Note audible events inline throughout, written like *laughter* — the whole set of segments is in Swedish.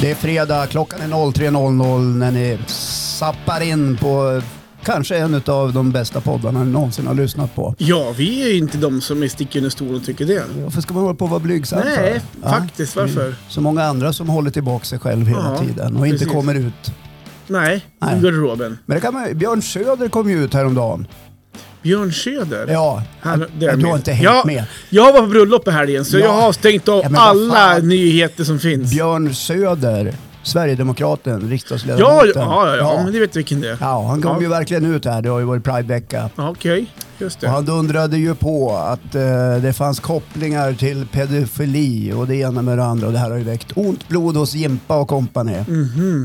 Det är fredag, klockan är 03.00 när ni sappar in på kanske en av de bästa poddarna ni någonsin har lyssnat på. Ja, vi är ju inte de som sticker under stolen och tycker det. Varför ska man hålla på att vara blygsam Nej, för? faktiskt. Varför? Så många andra som håller tillbaka sig själv hela Ja, tiden och inte precis. kommer ut. Nej, Nej. i garderoben. Men det kan man, ju- Björn Söder kom ju ut häromdagen. Björn Söder. Ja, Han- jag- det är jag- du har min. inte hängt Ja. med. Jag var på bröllop i helgen, så Ja. jag har stängt av Ja, men vad alla fan. nyheter som finns. Björn Söder, Sverigedemokraten, riksdagsledamoten. Ja, ja, ja, ja, men du vet vilken det är. Ja, han kom Ja. ju verkligen ut här. Det har ju varit Pridevecka. Ja, Okej, just Och det. han dundrade ju på att eh, det fanns kopplingar till pedofili och det ena med det andra och det här har ju väckt ont blod hos Jimpa och kompani.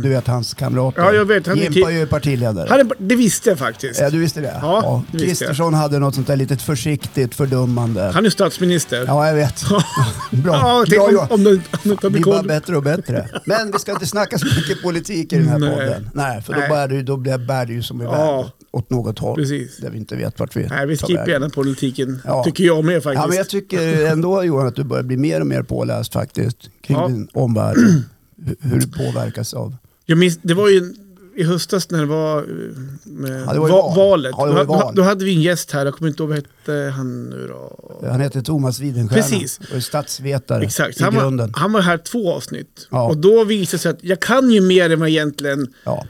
Du vet hans kamrater. Mhm. Ja, jag vet. Han är Jimpa ki- är ju partiledare. Här är- Det visste jag faktiskt. Ja, du visste det? Ja, det visste jag. Kristersson hade något sånt där litet försiktigt fördummande. Han är statsminister. Ja, jag vet. *laughs* Bra, Ja, tänk bra om, jobbat. om, de- om de tar Det blir bara bekod. bättre och bättre. Men vi ska inte snacka så mycket politik i den här Nej. podden. Nej, för då, Nej. bär det, ju- då blir- bär det ju som i Ja. världen åt något håll. Precis. Där vi inte vet vart vi Nej, vi tar skippar vägen. gärna politiken. Ja. Tycker jag med faktiskt. Ja, men jag tycker ändå Johan att du börjar bli mer och mer påläst faktiskt. Kring Ja. din omvärld. Hur- Hur du påverkas av. Jag minns, det var ju i höstas när det var, eh, med Ja, det var ju va- val. valet. Ja, det var ju Då- då, val. då hade vi en gäst här, jag kommer inte ihåg vad hette han nu då. Han heter Thomas Widenstierna. Precis. Och är statsvetare Exakt, i han var, Ah, grunden. han var här två avsnitt. Ja. Och då visade det sig att jag kan ju mer än vad jag egentligen Ja.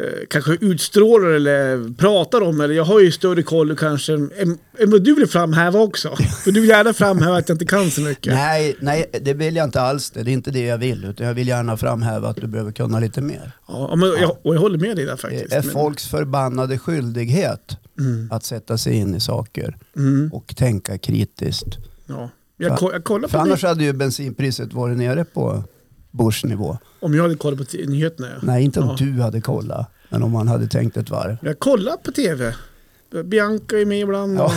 eh, kanske utstrålar eller pratar om. Eller jag har ju större koll kanske än, än vad du vill *laughs* framhäva också. För du vill gärna framhäva att jag inte kan så mycket. Nej, nej, det vill jag inte alls. Det Det är inte det jag vill. Utan jag vill gärna framhäva att du behöver kunna lite mer. Ja, men jag, och jag håller med dig där faktiskt. Det är Men- Mm. folks förbannade skyldighet att sätta sig in i saker och tänka kritiskt. ja. jag, ko- jag kollar För på annars det, hade ju bensinpriset varit nere på börsnivå. om jag hade kollat på t- nyheterna. ja. Nej, inte om Ja. du hade kollat, men om man hade tänkt ett varv. Jag kollar på tv. Bianca är med ibland. Ja. och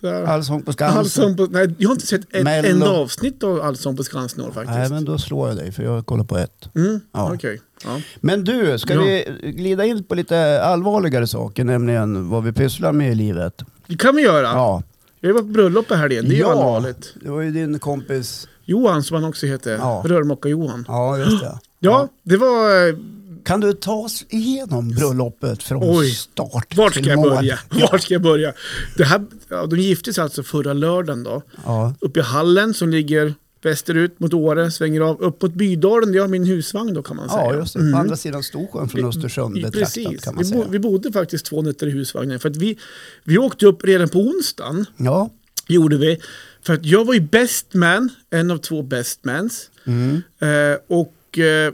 sådär. Allsång på Skansen. Allsång på, nej, jag har inte sett ett Mello. enda avsnitt av Allsång på Skansen i år faktiskt. Nej, men då slår jag dig för jag kollar på ett. mm, Ja. okej. ja. Men du, ska Ja. vi glida in på lite allvarligare saker, nämligen vad vi pysslar med i livet? Det kan vi göra. Ja, Jag var på bröllop i helgen, det är ju allvarligt. det var ju din kompis. Johan som han också heter, Ja. Rörmokar-Johan. Ja, Ja, just det. det var... eh, Kan du ta oss igenom bröllopet från Oj. start Vart till ska jag mål? börja? *laughs* Vart ska jag börja? Det här, ja, de gifte sig alltså förra lördagen då. Ja, Uppe i hallen som ligger västerut mot Åre, svänger av uppåt Bydalen där jag har min husvagn då kan man säga. ja just det. På andra sidan Storsjön från Östersund betraktat Precis, kan man Mm. vi, bo, säga. vi bodde faktiskt två nätter i husvagnen. För att vi, vi åkte upp redan på onsdagen, Ja, gjorde vi. För att jag var ju best man, en av två best mans. Mm. Eh, och eh,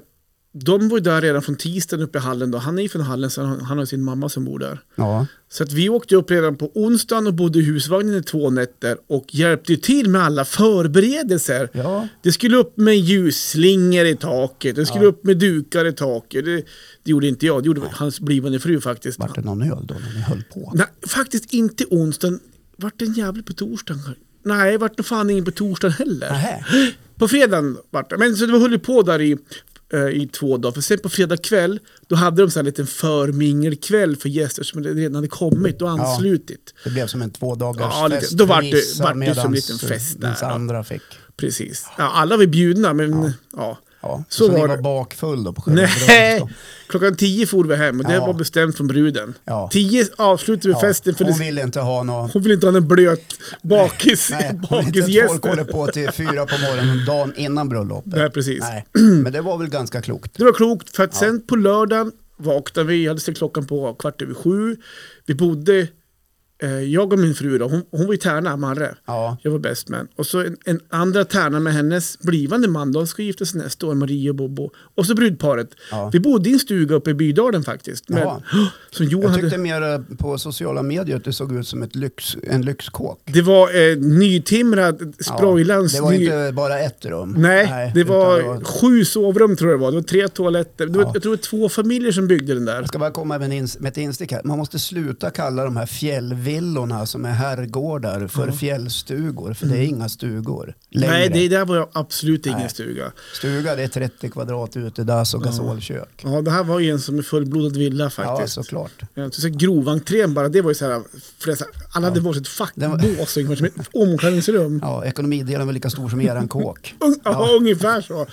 de var ju där redan från tisdagen uppe i hallen då. Han är ju från hallen, så han, han har sin mamma som bor där. ja. Så att vi åkte upp redan på onsdagen och bodde i husvagnen i två nätter och hjälpte ju till med alla förberedelser. ja. Det skulle upp med ljusslingor i taket, det skulle upp med dukar i taket. Det, det gjorde inte jag, det gjorde hans blivande fru faktiskt. Vart det någon öl då när ni höll på? Nej, faktiskt inte onsdagen. Vart det en jävel på torsdagen? Nej, vart det fan ingen på torsdagen heller. Nähä. På fredagen vart det. Men så det höll ju på där i, eh, i två dagar. För sen på fredag kväll, då hade de så här en liten förmingelkväll för gäster som redan hade kommit och anslutit. Det blev som en tvådagarsfest. Ja, lite. Då vart det- för vissa vart det som medans en liten fest där, vissa ja. andra fick. Precis. Ja, alla var ju bjudna, men ja. Ja. Så, Så ni var var det. bakfull då på själva *laughs* Nej! bröllopsdagen. Klockan tio for vi hem och det Ja. var bestämt från bruden. Ja. Tio avslutade vi Ja, festen för hon det, ville inte ha *laughs* någon... hon vill inte ha en blöt bakis, Nej, hon ville inte att bakisgäst. folk håller på till fyra på morgonen dagen innan bröllopet. Nej, precis. Nej. Men det var väl ganska klokt. Det var klokt för att sen på lördagen vaknade vi, jag hade ställt klockan på kvart över sju. Vi bodde, eh, jag och min fru då, hon, hon var i Tärna, Marre. Ja, Jag var bäst man. Och så en, en andra tärna med hennes blivande man, de ska gifta sig nästa år, Marie och Bobo. Och så brudparet. Ja. Vi bodde i en stuga uppe i Bydalen faktiskt. Men, Jaha. *gasps* som Johan jag hade... tyckte mer eh, på sociala medier att det såg ut som ett lyx, en lyxkåk. Det var eh, nytimrad Ja, Sproilans... Det var ny- inte bara ett rum. Nej, det utan var sju sovrum tror jag det var. Det var tre toaletter. Det var, Jag tror det var två familjer som byggde den där. Jag ska bara komma med, en ins- med ett instick här. Man måste sluta kalla de här villorna som är herrgårdar för fjällstugor. För det är inga stugor längre. Mm. Nej, det där var ju absolut ingen Nej. stuga. Stuga det är 30 kvadrat utedass och gasolkök. Ja, det här var ju en som är fullblodad villa Ja, faktiskt. såklart. Ja, så grovantrén bara, det var ju så här, flera, så här- alla hade varsitt Den var- fackbås ungefär som ett omklädningsrum. Ja, ekonomidelen var lika stor som *laughs* eran kåk. Un- Ja. ungefär så.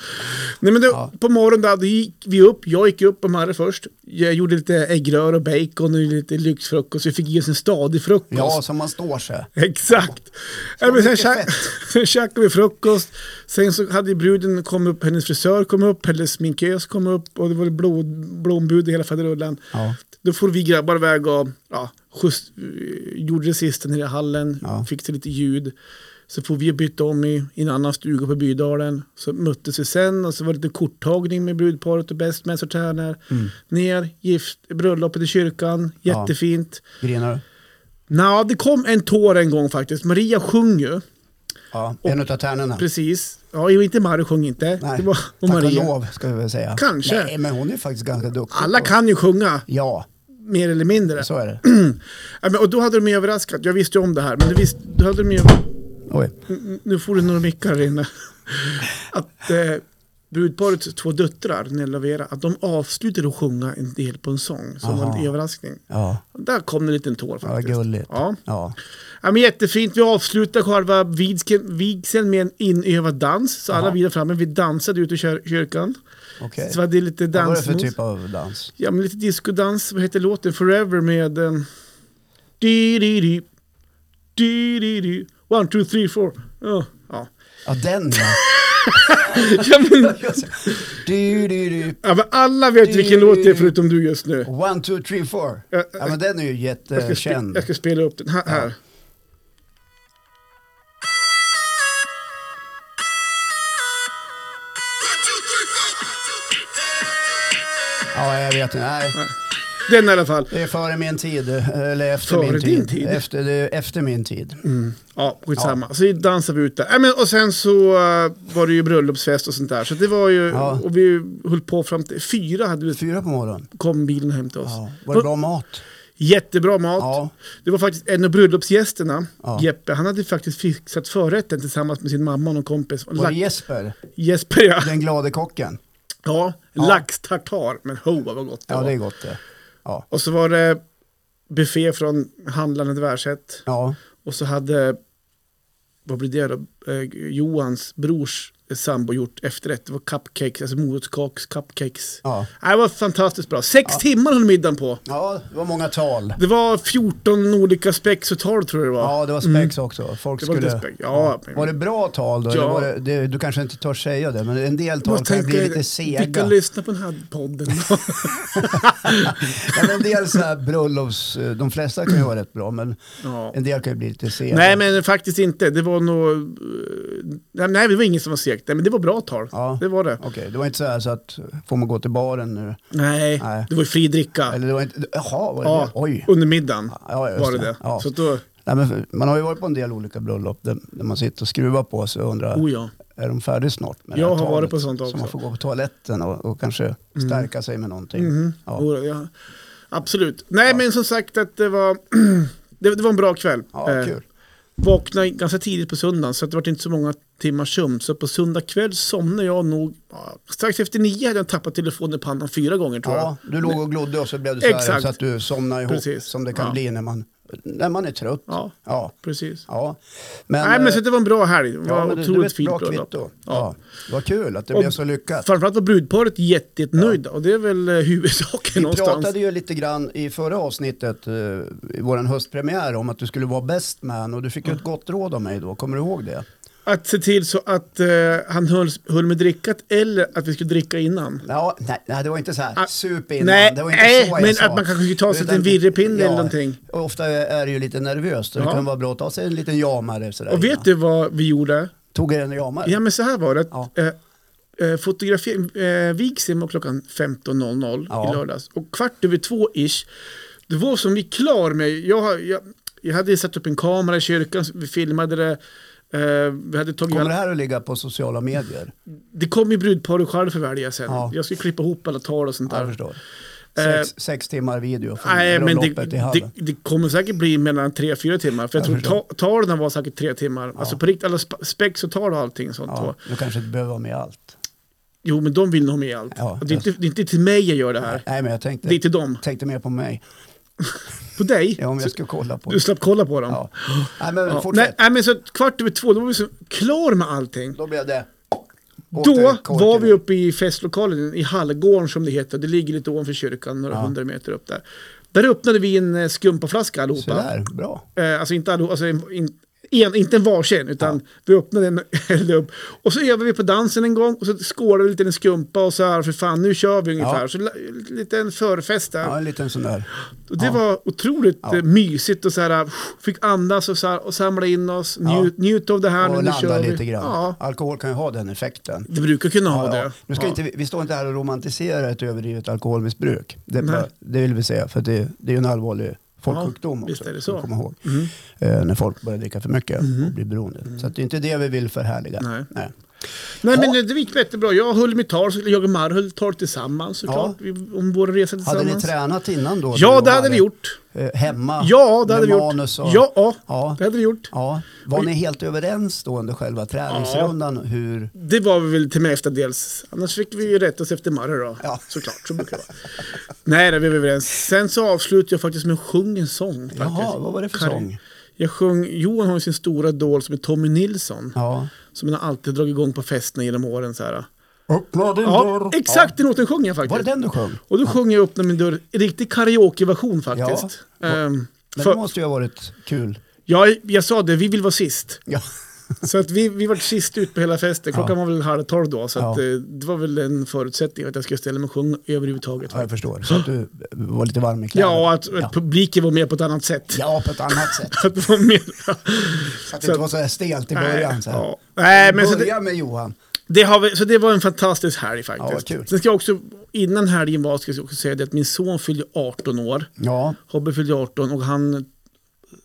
Nej, men då, Ja. På morgonen där, då gick vi upp, jag gick upp och Marre först. Jag gjorde lite äggrör och bacon och lite lyxfrukost. Vi fick i oss en stadig frukost. Ja, som man står sig. *laughs* Exakt. Ja, men sen, mycket käk, *laughs* sen käkade vi frukost. Sen så hade ju bruden kommit upp, hennes frisör kom upp, hennes sminkös kom upp och det var blod, blombud i hela faderullan. Ja. Då får vi grabbar iväg och ja, just, gjorde det sista nere i hallen, Ja. fick till lite ljud. Så får vi byta om i, i en annan stuga på Bydalen. Så möttes vi sen och så var det lite korttagning med brudparet och bästmän och tärnor. Ner, gift, bröllopet i kyrkan, Mm. Ja. jättefint. Grinar du? Nå, det kom en tår en gång faktiskt. Maria sjöng ju. Ja, en utav tärnorna. Precis. Ja, jo, inte Mario sjöng inte. Nej, Det var och tack och Maria. lov ska vi väl säga. Kanske. Nej, men hon är faktiskt ganska duktig. Alla på- kan ju sjunga, Ja, mer eller mindre. så är det. Ja, men, och då hade de mig överraskat. Jag visste ju om det här, men det visst, då hade de ju... Mm, Oj. mm, Nu får du några mickar här inne. *laughs* Att eh, brudparets två döttrar, Nella och Vera, att de avslutade att sjunga en del på en sång som var en Aha. överraskning. Ja, Där kom det en liten tår vad faktiskt. gulligt. Ja. Ja. Ja, men jättefint. Vi avslutar själva vigsken- vigseln med en inövad dans. Så alla Jaha. vi där framme, vi dansade ute i kyr- kyrkan. Okej. Så var det lite Vad var det dans. för typ av dans? Ja, men lite discodans. Vad heter låten? Forever med... Um, di, di, di, di, di, di. One, two, three, four. Ja, ja. *laughs* Ja, den ja. ja men, Du, du, du. ja, men alla vet vilken låt det är förutom du just nu. One, two, three, four. Jag, Ja, men den är ju jag, ska, spe- jättekänd. jag ska spela upp den här. här. Ja, jag vet inte. Nej, Den i alla fall. det är före min tid. Eller efter Före min tid. din tid? Mm. Efter, det är efter min tid. Ja, skitsamma. Så dansade vi ut där. Äh, men, och sen så eh, var det ju bröllopsfest och sånt där. Så det var ju, Ja. och vi höll på fram till fyra hade vi, Fyra på morgonen. kom bilen hem till oss. Ja. Var det bra mat? Jättebra mat. Ja. Det var faktiskt en av bröllopsgästerna, Ja. Jeppe, han hade faktiskt fixat förrätten tillsammans med sin mamma och någon kompis. Och Var det lax- Jesper? Jesper ja. Den glade kocken? ja, Ja. laxtartar. Men ho vad gott det Ja, var. det är gott det. Ja. Och så var det buffé från handlaren Tvärsätt. Ja. Och så hade, vad blir det då? Eh, Johans brors sambo gjort efterrätt. Det var cupcakes, alltså morotskaks, cupcakes. Ja. Nej, Det var fantastiskt bra. Sex timmar höll middagen på. ja, det var många tal. Det var 14 olika spexuttal tror jag det var. Ja, det var spex också. Folk Mm. det var skulle... lite spex. Ja, men- Var det bra tal då? Eller Ja. Var det, det, du kanske inte törs säga det, men en del Jag tal kan ju bli tänker, lite sega. Vilka lyssnar på den här *laughs* podden? Ja, men en del så här bröllops... eh, De flesta kan ju vara rätt bra, men ja. en del kan ju bli lite sega. Nej, men faktiskt inte. Det var nog... eh, Nej, det var ingen som var segt. Nej, men det var bra tal. Ja. Det var det. Okej, det var inte så här så att får man gå till baren nu? Nej, Nej. det var ju fri dricka. Eller det var inte... Jaha, var det Ja, det? Oj. under middagen Ja, just var det det. Ja. Så att då, Nej, men man har ju varit på en del olika bröllop där, där man sitter och skruvar på sig och undrar, oh ja. är de färdiga snart med det Jag här har talet? varit på sånt också. Mm. Så man får gå på toaletten och, och kanske stärka sig med någonting. Mhm. Mm-hmm. Ja. Jo, ja. Absolut. Nej, men som sagt att det var, *clears throat* det, det var en bra kväll. Ja, Eh, kul. Vaknade ganska tidigt på söndagen så att det var inte så många timmars sömn. Så på söndag kväll somnade jag nog, ja, strax efter nio hade jag tappat telefonen i pannan fyra gånger tror jag. Ja, du låg och glodde och så blev det så här Exakt. så att du somnade ihop Precis. som det kan Ja. bli när man, när man är trött. Ja. Ja, ja. precis. Men, Nej, men så eh, det var en bra helg. Det var ja, men det, det var otroligt ett bra fint bröllop. kvitto. Ja. Ja. Vad kul att det Och- blev så lyckat. Framförallt var brudparet jätte- jättenöjda och det är väl eh, *laughs* huvudsaken Vi någonstans. pratade ju lite grann i förra avsnittet, eh, i vår höstpremiär, om att du skulle vara best man och du fick ju Mm. ett gott råd av mig då, kommer du ihåg det? Att se till så att eh, han höll, höll med drickat eller att vi skulle dricka innan. Ja, nej, nej, det var inte så här, Ah, sup innan. nej, det var inte nej, så jag men sa. att man kanske skulle ta sig till en Utan- virrepinne eller någonting. Ofta är det ju lite nervöst, så det Ja. kan vara bra att ta sig en liten jamare. Sådär Och innan. vet du vad vi gjorde? Tog er en jamare? Ja men så här var det. Ja. Ja. Eh, fotografi- eh, vigseln var klockan 15.00 Ja. i lördags. Och kvart över två ish, det var som vi klar med, jag, har- jag, jag hade satt upp en kamera i kyrkan, så vi filmade det. Eh, vi hade tagit Kommer alla, det det, här att ligga på sociala medier? kom ju brudparet själv för välja sen. Ja. Jag skulle klippa ihop alla tal och sånt Ja, jag där. förstår. Sex, sex timmar video från Eh, Nej, men det, loppet i det, hallen. det kommer säkert bli mellan tre fyra timmar. För jag, Jag tror förstår. ta, talen var säkert tre timmar. Alltså på riktigt, alla sp- spex och tal och allting sånt. Ja, då. du kanske inte behöver vara med i allt. Jo, men de vill nog ha med allt. Ja, det, är inte, det är inte till mig jag gör det här. Nej, men jag tänkte, Det är till dem. tänkte mer på mig. På dig. Ja, om jag ska kolla på Du slapp kolla på dem. Ja. Nej, men Ja. Nej, fortsätt. nej, men så att kvart över två, då var vi så klar med allting. Då blev det... Då återkorkade. var vi uppe i festlokalen, i Hallgården som det heter. Det ligger lite ovanför kyrkan, några Ja. hundra meter upp där. Där öppnade vi en eh, skumpaflaska allihopa. Sådär, bra. Eh, alltså inte, allo- alltså en, in, en, inte en varsin, utan vi öppnade en *laughs* och hällde upp. Och så övade vi på dansen en gång och så skålade vi lite i en skumpa och så här, för fan nu kör vi ungefär. Så la- lite en förfest där. Ja, en liten sån där. Och det var otroligt eh, mysigt och så här, pff, fick andas och, så här, och samla in oss, njut, njut av det här Och nu, nu landa kör vi. lite grann. Ja, Alkohol kan ju ha den effekten. det brukar kunna ha Ja, det. ja. Nu ska Ja. inte, vi- vi står inte här och romantiserar ett överdrivet alkoholmissbruk. Det, Nej. det vill vi säga, för det, det är ju en allvarlig folksjukdom Ja, också. visst är det ska vi så. Mm. Komma ihåg. Eh, när folk börjar dricka för mycket och blir beroende. Så att det är inte det vi vill förhärliga. Nej. Ja. Nej men eh, det gick jättebra. Jag höll mitt tal, så jag och Mar höll tal tillsammans såklart. Vi, om vår resa Hade ni tillsammans. tränat innan då? ja, Du det hade lovade. vi gjort. Eh, hemma? Ja, det med hade vi manus gjort. och- Ja, ja, Ja. det hade vi gjort. Ja, var ni helt överens då under själva träningsrundan hur Det var vi väl till mesta dels. Annars fick vi ju rätta oss efter Marre då. Ja. Såklart, så brukar det vara. Nej, det var vi överens. Sen så avslutade jag faktiskt med att sjunga en sång. Faktiskt. Jaha, vad var det för Karin- sång? Jag sjöng, Johan har ju sin stora idol som är Tommy Nilsson. Ja. Som han alltid dragit igång på festerna genom åren. Så här. Öppna din Ja, exakt den låten sjöng jag faktiskt. Var det den du sjöng? Och då sjöng jag upp när min dörr, en riktig karaokeversion faktiskt. Ja. Ehm, Men det för, måste ju ha varit kul. jag, jag sa det, vi vill vara sist. Ja. *laughs* Så att vi, vi var sist ut på hela festen. Klockan var väl halv tolv då. Så att, Ja. eh, det var väl en förutsättning att jag skulle ställa mig och sjunga överhuvudtaget. ja, jag förstår. Så att du var lite varm i kläderna. Ja, och att, ja. att publiken var med på ett annat sätt. ja, på ett annat sätt. *laughs* Att det var med, Så att det inte var så här stelt i början. Så här. ja. Nej, men Börja så det, med Johan. det har vi, så det var en fantastisk helg Ja, faktiskt. vad kul. Sen ska jag också, innan helgen var, ska jag också säga det att min son fyllde 18 år. Ja, Hobbe fyllde 18 och han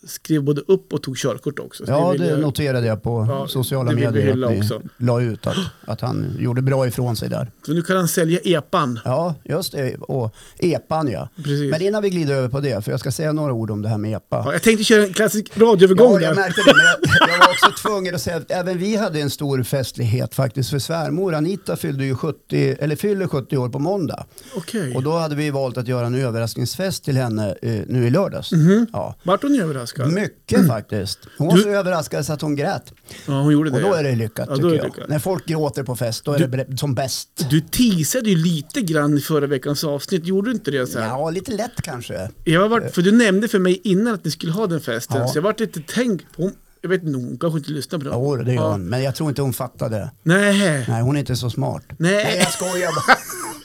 skrev både upp och tog körkort också. Så ja vill det jag- noterade jag på Ja, sociala det vill vi medier. hylla Att ni också. la ut att, att han gjorde bra ifrån sig där. Så nu kan han sälja epan. Ja, just det. Och epan ja. Precis. Men innan vi glider över på det, för jag ska säga några ord om det här med epa. Ja, jag tänkte köra en klassisk radioövergång Ja, jag där. märkte det. Men jag, jag var också tvungen att säga att även vi hade en stor festlighet faktiskt för svärmor. Anita fyllde ju 70, eller fyller 70 år på måndag. Okej. Och då hade vi valt att göra en överraskningsfest till henne eh, nu i lördags. Mhm. Ja. Vart hon överraskad? Mycket faktiskt. Hon var så överraskad så att hon grät. Mm. Ja, hon gjorde det. Och då är det ja. lyckat Ja, då tycker är jag. det lyckat. När folk gråter på fest, då är det bre- som bäst. Du teasade ju lite grann i förra veckans avsnitt, gjorde du inte det? Så här? Ja, lite lätt kanske. Jag har varit, för du nämnde för mig innan att ni skulle ha den festen, Ja. så jag varit lite tänkt på, jag vet inte, hon kanske inte lyssnar på det. Jo, det gör hon. Men jag tror inte hon fattade. Nej. Nej, hon är inte så smart. Nej. jag skojar bara.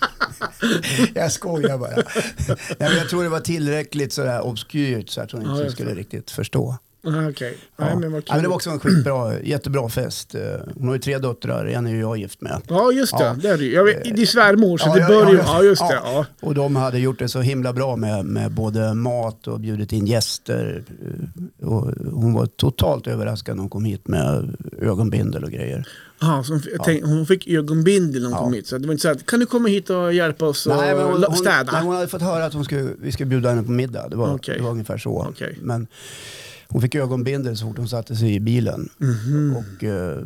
*laughs* jag skojar bara. Nej, men jag tror det var tillräckligt sådär obskyrt så att hon Ja, inte jag skulle riktigt förstå. Ah, Okej. Ja. Nej, men vad Ja, men det var kul. också en skitbra, jättebra fest. Eh, Hon har ju tre döttrar, en är ju jag gift med. Ja, just det. Ja. Eh. Det är det ju. Jag vet, det är svärmor, så Ja, det ja, börjar ju... ja, Ja, just det. Ja. Och de hade gjort det så himla bra med, med både mat och bjudit in gäster. Eh, Och hon var totalt överraskad när hon kom hit med ögonbindel och grejer. Ah, så hon, jag tänkte, hon fick ögonbindel när hon kom hit, så det var inte så här, kan du komma hit och hjälpa oss och Nej, men hon, la- hon, städa? nej, hon hade fått höra att hon skulle, vi skulle bjuda henne på middag. Det var, Okej. det var ungefär så. Okej. Men hon fick ögonbindel så fort hon satte sig i bilen Mhm. och eh,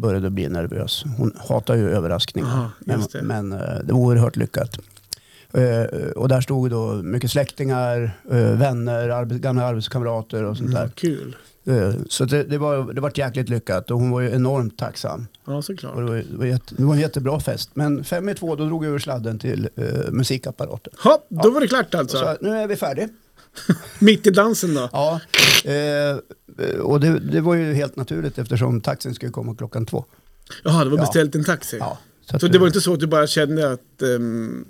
började bli nervös. Hon hatar ju överraskningar. Aha, men just det. men eh, det var oerhört lyckat. Eh, och där stod då mycket släktingar, eh, vänner, arbets, gamla arbetskamrater och sånt Mhm. där. Kul. Eh, så det, det, var, det var jäkligt lyckat och hon var ju enormt tacksam. Ja, Och såklart. det, var, det, var jätte, det var en jättebra fest. Men fem i två, då drog jag över sladden till eh, musikapparaten. Ja, då var det klart alltså. Så att nu är vi färdiga. Mitt i dansen då? Ja. Eh, och det, det var ju helt naturligt eftersom taxin skulle komma klockan två. Jaha, det var Ja. beställt en taxi? Ja. Så det var inte så att du bara kände att... ehm,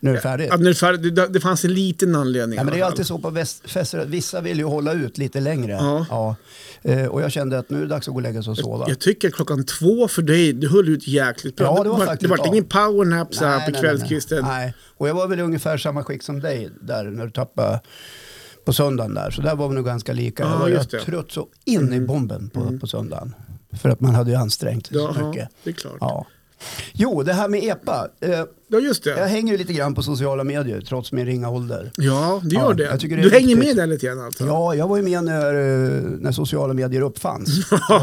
Nu är det färdigt. att när du är färdig, det, det fanns en liten anledning? Ja, men det i är alla alltid fall. så på väst- fester att vissa vill ju hålla ut lite längre. Ja. Eh, och jag kände att nu är det dags att gå och lägga sig och sova. Jag tycker klockan två för dig, du höll ut jäkligt bra. Ja, det var Det faktiskt var bra. ingen powernap så här Nej, på nej, nej, nej. kvällskvisten. Nej, och jag var väl i ungefär samma skick som dig där när du tappade på söndagen där. Så där var vi nog ganska lika. Ja, jag var ju just det. Mm. trött så in i bomben på, på söndagen. För att man hade ju ansträngt sig så Jaha, mycket. det är klart. Ja. Jo, det här med EPA. Eh, Ja, just jag det. hänger ju lite grann på sociala medier trots min ringa ålder. Ja, det gör Ja, det. jag tycker det är Du hänger viktigt. med där lite grann alltså? Ja, jag var ju med när, eh, när sociala medier uppfanns. Mm.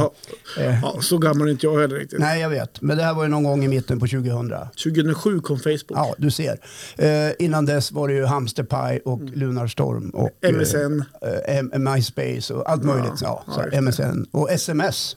Eh, ja, så gammal är inte jag heller riktigt. Nej, jag vet. Men det här var ju någon gång i mitten på 2000. 2007 kom Facebook. *laughs* Ja, du ser. Eh, innan dess var det ju Hamsterpaj och Mm. Lunarstorm och eh, MSN. eh, M- MySpace och allt möjligt. Ja, ja, så här, just det. MSN och SMS.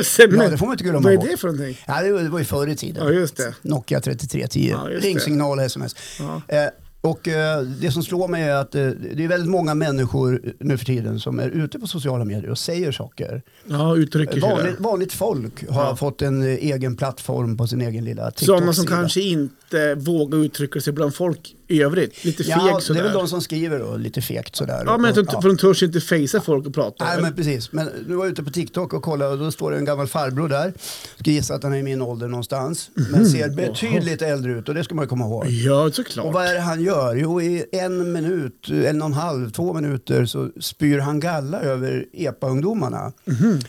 SMS. Ja, det får man inte glömma Vad bort. är det för någonting? Ja, det var- det var ju förr i tiden. Ja, just det. Nokia 3310. Ja, just det. Ringsignal och sms. Ja. Eh, och eh, det som slår mig är att eh, det är väldigt många människor nu för tiden som är ute på sociala medier och säger saker. Ja, uttrycker sig Vanligt, där. vanligt folk har Ja. fått en eh, egen plattform på sin egen lilla TikTok-sida. Sådana som kanske inte vågar uttrycka sig bland folk i övrigt. Lite feg Ja, det är sådär. väl de som skriver då, lite fegt sådär. Ja, men jag tror inte, Och- för de törs inte fejsa folk och prata. Nej men precis, men nu var jag ute på TikTok och kollade och då står det en gammal farbror där. Ska gissa att han är i min ålder någonstans. Men ser betydligt äldre ut och det ska man ju komma ihåg. Ja, Och såklart. vad är det han gör? Jo, i en minut, en och en halv, två minuter så spyr han galla över EPA-ungdomarna. Hur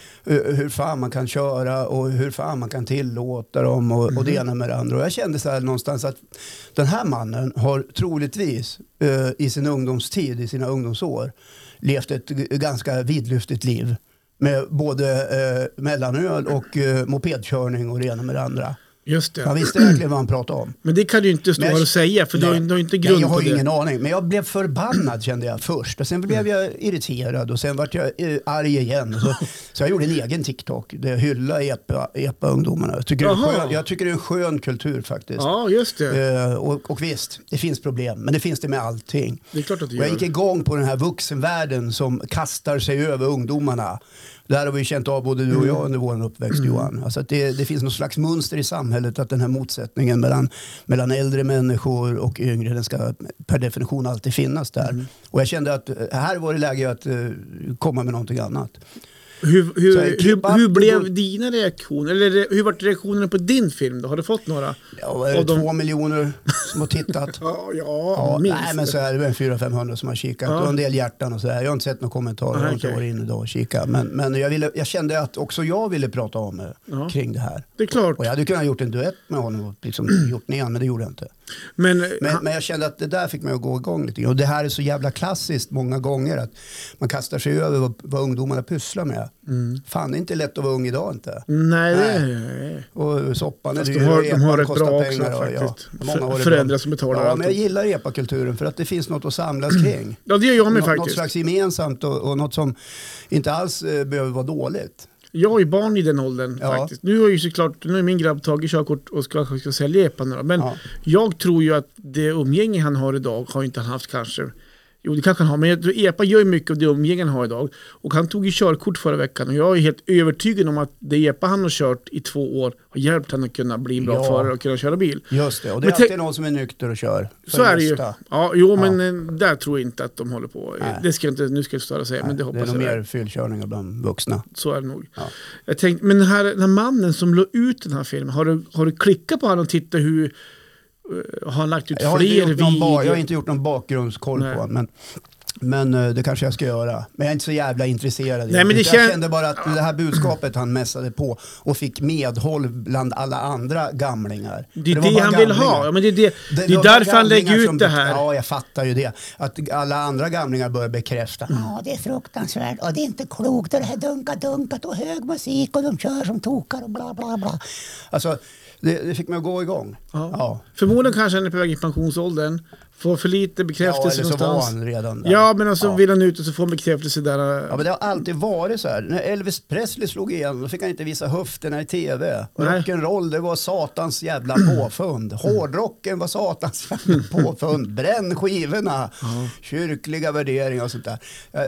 hur fan man kan köra och hur fan man kan tillåta dem och, och det ena med det andra. Och jag kände så här någonstans att den här mannen har troligtvis eh, i sin ungdomstid, i sina ungdomsår, levt ett g- ganska vidlyftigt liv. Med både eh, mellanöl och eh, mopedkörning och det ena med det andra. Just det. Han visste verkligen vad han pratade om. Men det kan du ju inte stå Men- här och säga, för du har, ju- du har ju inte grund Nej, jag har på ju det. Mm. ingen aning. Men jag blev förbannad kände jag först. Och sen blev jag irriterad och sen vart jag eh, arg igen. *laughs* Och Så, så jag gjorde en egen TikTok där jag hyllade EPA- EPA-ungdomarna. jag, tycker det är en Jaha. skön- jag tycker det är en skön kultur faktiskt. Ja, just det. Eh, och, och visst, det finns problem, men det finns det med allting. Det är klart att du Och jag gör. gick igång på den här vuxenvärlden som kastar sig över ungdomarna. Det här har vi ju känt av både du och Mm. jag under vår uppväxt Johan. Alltså att det, det finns något slags mönster i samhället att den här motsättningen mellan, mellan äldre människor och yngre den ska per definition alltid finnas där. Mm. Och jag kände att eh, här var det läge att eh, komma med någonting annat. Hur, Så hur, här, keep up hur, hur the good- blev dina reaktioner? Eller re- hur vart reaktionerna på din film då? Har du fått några? Ja, vad är det, Och de- Två miljoner som har tittat. Ja, ja, Ja, minst. nej, men så är det väl 400-500 som har kikat Ja. och en del hjärtan och sådär. Jag har inte sett några kommentarer, jag har Nej, inte okej. varit inne idag och kikat. Men, men jag, ville, jag kände att också jag ville prata om eh, Ja. kring det här. Det är klart. Och jag hade kunnat gjort en duett med honom och Mm. liksom gjort ner men det gjorde jag inte. Men, Men, han- men jag kände att det där fick mig att gå igång lite grann. Och det här är så jävla klassiskt många gånger att man kastar sig över vad, vad ungdomarna pysslar med. Mm. Fan, det är inte lätt att vara ung idag inte. nej, det Och soppan är Mm. Fast de dyr har- och de har epan rätt kostar bra också pengar. och, faktiskt. Ja, många För- har det bra. föräldrar som betalar Ja, allt. men jag gillar epakulturen för att det finns något att samlas *clears throat* kring. Ja, det gör jag med Nå- Något faktiskt. slags gemensamt och, och något som inte alls eh, behöver vara dåligt. Jag har ju barn i den åldern Ja. faktiskt. Nu har ju såklart, nu är min grabb tagit körkort och ska, ska sälja epan. då. Men Ja. jag tror ju att det umgänge han har idag har inte han haft kanske. Jo, det kanske han har, men jag tror epa gör ju mycket av det umgänge han har idag. Och han tog ju körkort förra veckan och jag är helt övertygad om att det epa han har kört i två år har hjälpt honom att kunna bli en bra Ja. förare och kunna köra bil. Just det, och det är Men tänk- alltid någon som är nykter och kör. För Så är det ju. mesta. Ja, jo, Ja. men eh, där tror jag inte att de håller på. Eh, Nej. Det ska jag inte, nu ska jag störa säga, men det det är hoppas nog jag. mer fyllkörningar bland vuxna. Så är det nog. Ja. Jag tänkte, men den här, den här mannen som la ut den här filmen, har du, har du klickat på honom och tittat hur... eh, Har han lagt ut Jag har, inte fler gjort någon ba- jag har videor? inte gjort någon bakgrundskoll Nej. på honom. Men, men eh, det kanske jag ska göra. Men jag är inte så jävla intresserad. Nej, men det Utan jag kän- kände bara att det här budskapet han mässade på och fick medhåll bland alla andra gamlingar. Det är För var det, bara han vill gamlingar. ha. Ja, men det är, det, det, är var därför han gamlingar lägger som ut det bet- här. Ja, jag fattar ju det. Att alla andra gamlingar börjar bekräfta. Ja, det är fruktansvärt och det är inte klokt och det här dunka-dunkat och hög musik och de kör som tokar och bla bla bla. Alltså, det, det fick mig att gå igång. Ja. Ja. Förmodligen kanske han är på väg i pensionsåldern. Får för lite Ja, bekräftelse eller så var någonstans. han redan där. Ja, men alltså Ja. vill han ut och så får han bekräftelse där. Ja, men det har alltid varit så här. När Elvis Presley slog igenom då fick han inte visa höfterna i tv. Och Nej. Mm. Rock'n'roll det var satans jävla påfund. Hårdrocken var satans jävla påfund. Bränn skivorna. Kyrkliga värderingar och sånt där. Eh,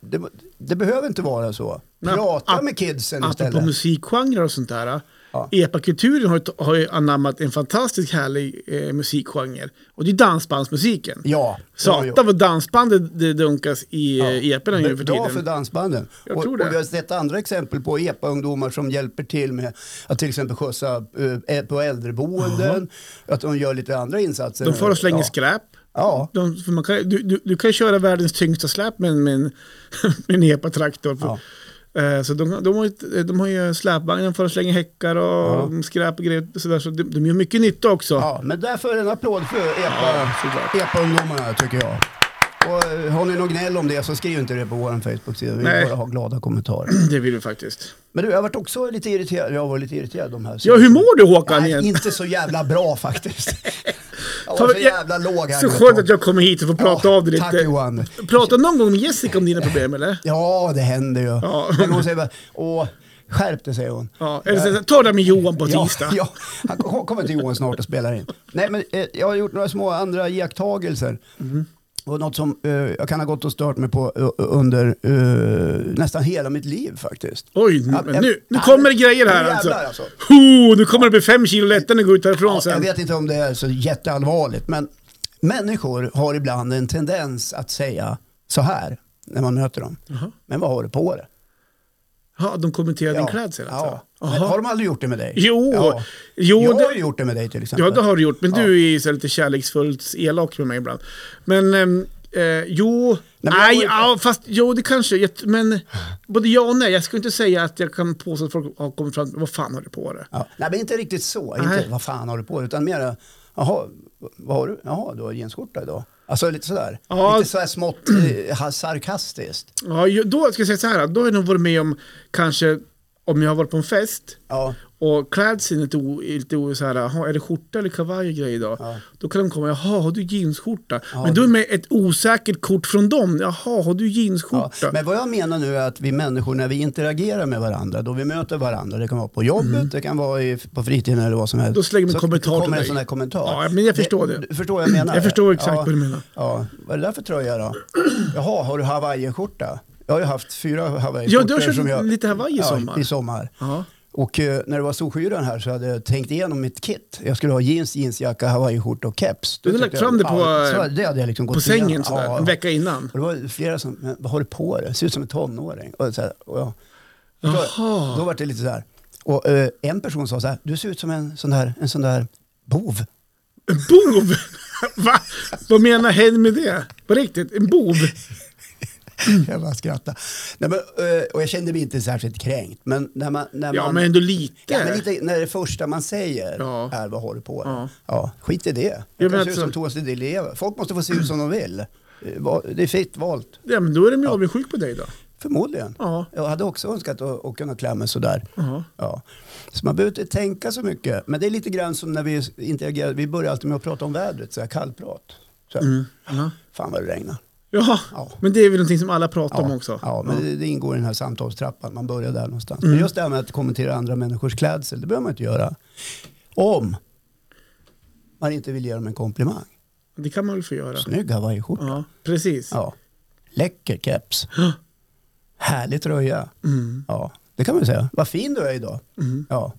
Det, det, det behöver inte vara så. Men Prata ap- med kidsen Apropå istället. musikgenrer och sånt där. Ja. Epakulturen har, ju- har ju anammat en fantastiskt härlig eh, musikgenre. Och det är dansbandsmusiken. Ja. Satan vad dansbandet det dunkas i E ja. eporna nu för Bra tiden. för dansbanden. Jag och, tror det. och vi har sett andra exempel på EPA-ungdomar som hjälper till med att till exempel skjutsa eh, på äldreboenden. Att de gör lite andra insatser. de får och slänger ja. skräp. Ja, De, för *laughs* man kan, du, du, du kan köra världens tyngsta släp med, en- med en, med en epatraktor. Ja. Ja. E Eh, Så de, de, har ju, de har ju släpvagnen för att slänga häckar och skräp och grejer. och Så, där, så de, de gör mycket nytta också. Ja, men därför en applåd för E EPA, såklart. EPA-ungdomarna tycker jag. Och eh, har ni något gnäll om det så skriv inte det på vår Facebook-sida. Vi vill Nej. bara ha glada kommentarer. *clears throat* Det vill du faktiskt. Men du, jag har varit också lite irriterad. Jag var lite irriterad de här. Ja, hur mår du Håkan Nej, igen? inte så jävla bra *laughs* faktiskt. Jag Ta- var så jag- jävla låg här. Så nu ett skönt tag. att jag kommer hit och får prata Ja, av dig Tack lite. Johan. Prata någon gång med Jessica om dina problem eller? Ja, det händer ju. Ja. Men hon säger bara, åh, skärp dig säger hon. Ja, eller så, ta det där med Johan på Ja, tisdag. ja, han kom- kommer till Johan snart och spelar in. Nej, men eh, jag har gjort några små andra iakttagelser. Mm. Och något som eh, jag kan ha gått och stört mig på eh, under eh, nästan hela mitt liv faktiskt. Oj, Ja, nu, jag- nu, nu ja, kommer det grejer nu här jävlar, alltså. alltså. Ho, nu kommer det bli fem kilo lättare när du går ut härifrån Ja, jag sen. vet inte om det är så jätteallvarligt, men människor har ibland en tendens att säga så här när man möter dem. Men vad har du på dig? Ja, de kommenterar din Ja, klädsel alltså? ja. Men Jaha. Har de aldrig gjort det med dig? Jo, Ja. jo jag det- har ju gjort det med dig till exempel. Ja, det har du gjort. Men du är ju så här lite kärleksfullt elak med mig ibland. Men, ehm, eh, jo, men nej, jag har ja, fast jo, det kanske, jag- men både ja och nej. Jag skulle inte säga att jag kan påstå att folk har kommit fram vad fan har du på det? Ja. Nej, men inte riktigt så. Nej. Inte vad fan har du på dig? Utan mer, jaha, vad har du? Jaha, du har jeansskjorta idag. Alltså lite sådär. Ja. Lite sådär smått eh, ha- sarkastiskt. Ja, ju- då ska jag säga så här, då har jag nog varit med om kanske om jag har varit på en fest Ja. och klädseln är lite, o, är lite o, så här, "Jaha, är det skjorta eller kavaj och grej idag? Ja. Då kan de komma, jaha, har du jeansskjorta? Ja, men då är det- det med ett osäkert kort från dem, jaha, har du Ja, jeansskjorta? men vad jag menar nu är att vi människor när vi interagerar med varandra, då vi möter varandra, det kan vara på jobbet, det kan vara i, på fritiden eller vad som helst. Mm. Då slänger man en så kommentar till kommer en dig. sån här kommentar. Ja, men jag förstår det. Du förstår vad jag menar? Jag förstår exakt vad du menar. Ja. Vad är det där för tröja då? Jaha, har du hawaiiskjorta? Jag har ju haft fyra Ja, hawaiiskjortor. du har kört som jag- lite Hawaii i ja, sommar. i sommar. Ja. Och eh, när det var Storskyran här så hade jag tänkt igenom mitt kit. Jag skulle ha jeans, jeansjacka, hawaiiskjorta och keps. Du hade tyckte lagt jag- fram det på, Ja, eh, så hade- det hade jag liksom gått på sängen igenom. sådär, Ja, en ja. vecka innan. Och det var flera som, men vad har du på dig? Ser ut som en tonåring. Och så här, och jag, då, Jaha. då var det lite så här. Och eh, en person sa så här, du ser ut som en sån där, en sån där bov. *clears throat* En bov? *laughs* Va? Vad menar hen med det? På riktigt, en bov? Jag bara skrattade. Nej, men, eh, och jag kände mig inte särskilt kränkt. Men när man... När Ja, man men ändå lite. Ja, men lite, när det första man säger Ja. är vad har du på dig? Ja. Ja. skit i det. men Jag kan se ut alltså- som Thomas Di Leva. Folk måste få se ut som de vill. Eh, va- Det är fritt valt, Ja, men då är de ju avundsjuka på dig då. förmodligen. Ja. Jag hade också önskat att, att kunna klä mig sådär. Ja. Ja. Så man behöver inte tänka så mycket. Men det är lite grann som när vi interagerar. Vi börjar alltid med att prata om vädret, så här kallprat. Så här, Mm. Ja. Fan vad det regnar. Ja, Ja. men det är väl någonting som alla pratar om Ja, också. Mm. Ja, men Det, det ingår i den här samtalstrappan. Man börjar där någonstans. Men just det här med att kommentera andra människors klädsel, det behöver man inte göra. Om man inte vill ge dem en komplimang. Det kan man väl få göra. Snygg hawaiiskjorta. Ja, precis. Ja. Läcker keps. *gasps* Härlig tröja. Ja, det kan man ju säga. Vad fin du är idag. Ja.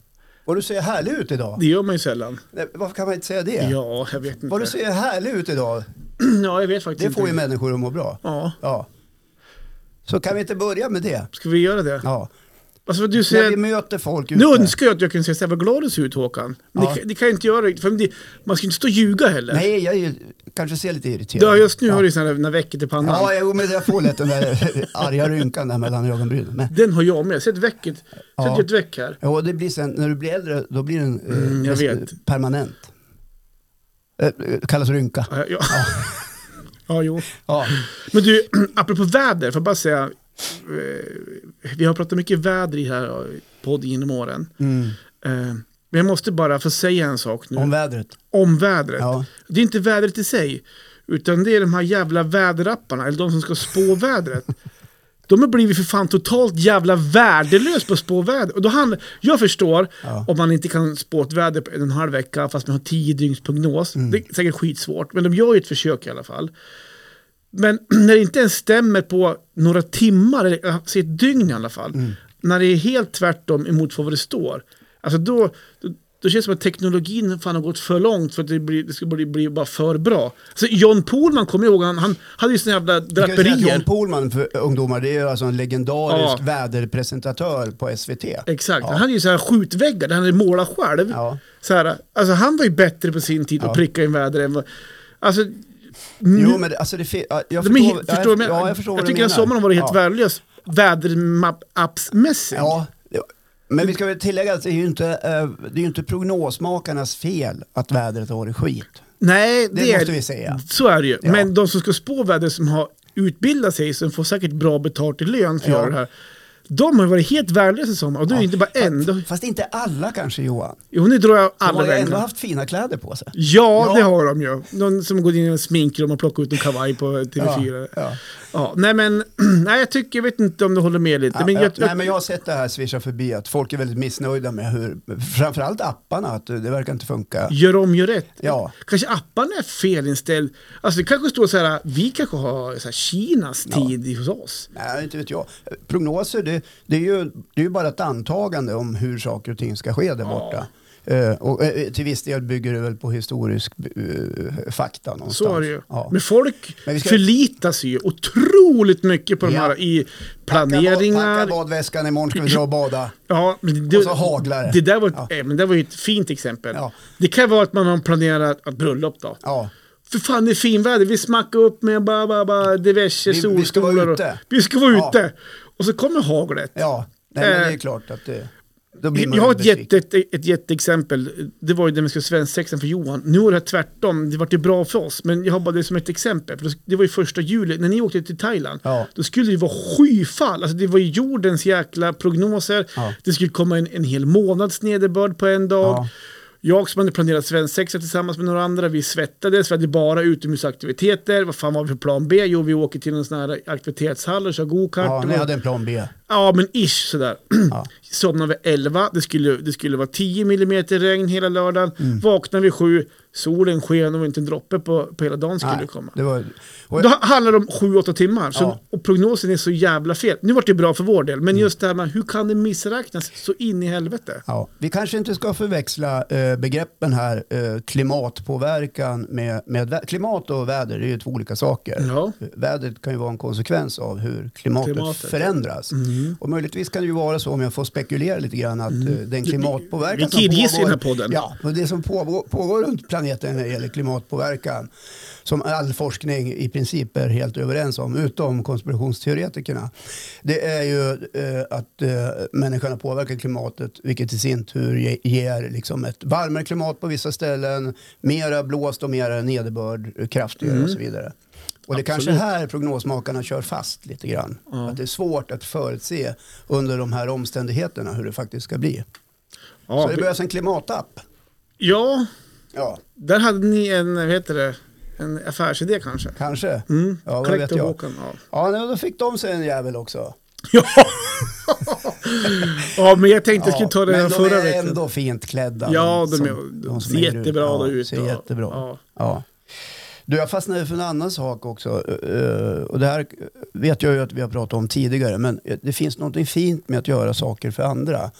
Och du ser härlig ut idag. Det gör man ju sällan. Nej, Varför kan man inte säga det? Ja, jag vet inte. Vad du ser härlig ut idag. *clears throat* Ja, jag vet faktiskt Det får ju inte. människor att må bra. Ja, Ja. Så kan vi inte börja med det? ska vi göra det? Ja. Alltså, du När vi ser... möter folk Nu ute. önskar jag att jag kunde säga så här, vad glad du ser ut Håkan. Men Ja. det, kan- det kan jag inte göra riktigt, för det, man ska ju inte stå och ljuga heller. Nej, jag är ju, kanske ser lite irriterad Ja, just nu ja. har du sådana här när väcket i pannan. Ja, jo, men jag får lätt den där *laughs* arga rynkan där mellan ögonbrynen. Men, Den har jag med. Jag ser ett väcket. Ja. Sätt ett väck här. ja, det blir sen, när du blir äldre, då blir den eh, Mm, jag nästan vet. permanent. Eh, eh, kallas rynka. Ja, ja. *laughs* ja, jo. Ja. Men du, *clears throat* apropå väder, får jag bara säga. eh, Vi har pratat mycket väder i här eh, podden genom åren. Mm. Eh, Men jag måste bara få säga en sak nu. Om Om, vädret. vädret. Ja. Det är inte vädret i sig. Utan det är de här jävla väderapparna, eller de som *laughs* ska spå vädret. De har blivit för fan totalt jävla värdelös på att spå väder. Och då handlar, jag förstår Ja. om man inte kan spå ett väder på en och en halv vecka fast man har tio dygns prognos. Mm. Det är säkert skitsvårt, men de gör ju ett försök i alla fall. Men *clears throat* när det inte ens stämmer på några timmar, eller alltså ett dygn i alla fall, Mm. när det är helt tvärtom emot vad det står, alltså då, då, då känns det som att teknologin fan har gått för långt för att det, blir, det ska bli, bli bara för bra. Så John Pohlman, kommer jag ihåg, han, han hade ju såna jävla Vi kan ju säga att draperier. John Pohlman för ungdomar, det är ju alltså en legendarisk Ja. väderpresentatör på SVT. Exakt, Ja. han hade ju så här skjutväggar där han hade målat själv. Ja. Så här, alltså han var ju bättre på sin tid att pricka in väder än vad... Alltså, nu, Jo, men alltså det, fi- ja, jag de är, förstår, helt- förstår du vad jag, ja, menar? jag förstår vad jag du tycker att menar. sommaren har varit helt ja. värdelös. vädermappsmässigt. Ja, det- men vi ska väl tillägga att det är ju inte, eh, det är ju inte prognosmakarnas fel att vädret har varit skit. Nej, det, Det, är- måste vi säga. Så är det ju. Ja. Men de som ska spå väder som har utbildat sig, som får säkert bra betalt i lön för att Ja. göra det här. De har ju varit helt värdelösa som och du är Ja, inte bara en. Då- Fast inte alla kanske Johan. Jo, nu drar jag De alla har ju ändå vägar. haft fina kläder på sig. Ja, Ja. det har de ju. Någon som går in i en sminkrum och plockar ut en kavaj på TV4. Ja. ja. Nej, men *clears throat* nej, jag tycker, jag vet inte om du håller med lite. Ja, men ja. jag, Nej, men jag har sett det här swisha förbi att folk är väldigt missnöjda med hur, framförallt apparna, att det verkar inte funka. Gör om, gör rätt. Ja. Kanske apparna är felinställd. Alltså det kanske står så här, vi kanske har så här, Kinas tid hos oss. Nej, inte vet jag. Prognoser, det, det, är ju, det är ju bara ett antagande om hur saker och ting ska ske där Ja. borta. Eh, och eh, till viss del bygger det väl på historisk eh, fakta någonstans. Så är det ju. Ja. Men folk Men vi ska- förlitar sig ju otroligt mycket på de Ja. här i Packa, bad, planeringar. packa badväskan, imorgon ska vi dra och bada. Ja, men det, Och så haglar det. det. Där var, ett- Ja. eh, men det var ju ett fint exempel. Ja. Det kan vara att man har planerat ett bröllop då. Ja. För fan det är finväder, vi smackar upp med bara, bara, bara diverse Vi- vi ska vara solstolar. och- ute. Vi ska vara Ja. ute. Och så kommer haglet. Ja, Nej, men det Eh, är klart att det... Då blir man Jag har ju ett, besviken. jätte, ett, ett jätteexempel. Det var ju det med svensexan för Johan. Nu var det här tvärtom. Det vart ju bra för oss. Men jag har bara det som ett exempel. För det var ju första juli. När ni åkte till Thailand. Ja. Då skulle det ju vara skyfall. Alltså det var ju jordens jäkla prognoser. Ja. Det skulle komma en, en hel månads nederbörd på en dag. Ja. Jag som hade planerat svensexa tillsammans med några andra, vi svettades, vi hade bara utomhusaktiviteter. Vad fan var vi för plan B? Jo, vi åker till en sån här aktivitetshall och kör gokart. Ja, Det ni var- hade en plan B. Ja, men ish sådär. *clears throat* Ja. Somnade vid 11, det skulle, det skulle vara 10 mm regn hela lördagen. Mm. Vaknade vid 7, solen sken och inte en droppe på, på hela dagen skulle Nej, komma. det var, och, Då handlar det om 7-8 timmar så, Ja. Mm. och prognosen är så jävla fel. Nu vart det bra för vår del, men just det här med hur kan det missräknas så in i helvete? ja, vi kanske inte ska förväxla eh, begreppen här, eh, klimatpåverkan med, med vä- klimat och väder, det är ju två olika saker. Eh, Ja, Vädret kan ju vara en konsekvens av hur klimatet, Klimatet. Mm. förändras. Och möjligtvis kan det ju vara så, om jag får spekulera lite grann, att eh, den Vi klimatpåverkan killgissar i den här podden. Ja, och det som pågår, pågår runt planeten när det gäller klimatpåverkan, som all forskning i princip är helt överens om, utom konspirationsteoretikerna, det är ju eh, att eh, människan har påverkat klimatet, vilket i sin tur ge, ger liksom ett varmare klimat på vissa ställen, mera blåst och mera nederbörd, kraftigare och så Mm. vidare. Och det är kanske här prognosmakarna kör fast lite grann. Ja. Att det är svårt att förutse under de här omständigheterna hur det faktiskt ska bli. ja, så det behövs en klimatapp. ja Ja, där hade ni en, vad heter det, en affärsidé kanske? kanske. Mm. Ja, vad Collect vet jag. Håkan, ja. Ja, nej, då fick de sig en jävel också. Ja. ja, men jag tänkte jag skulle Ja, ta det här men de förra är veckan. ändå fint klädda. Ja, de som- är, de som ser hänger jättebra ut. Ja, ut. ut ser och- jättebra ut. Ja. Ja. Du, jag fastnade för en annan sak också. Eh, Och det här vet jag ju att vi har pratat om tidigare, men det finns något fint med att göra saker för andra.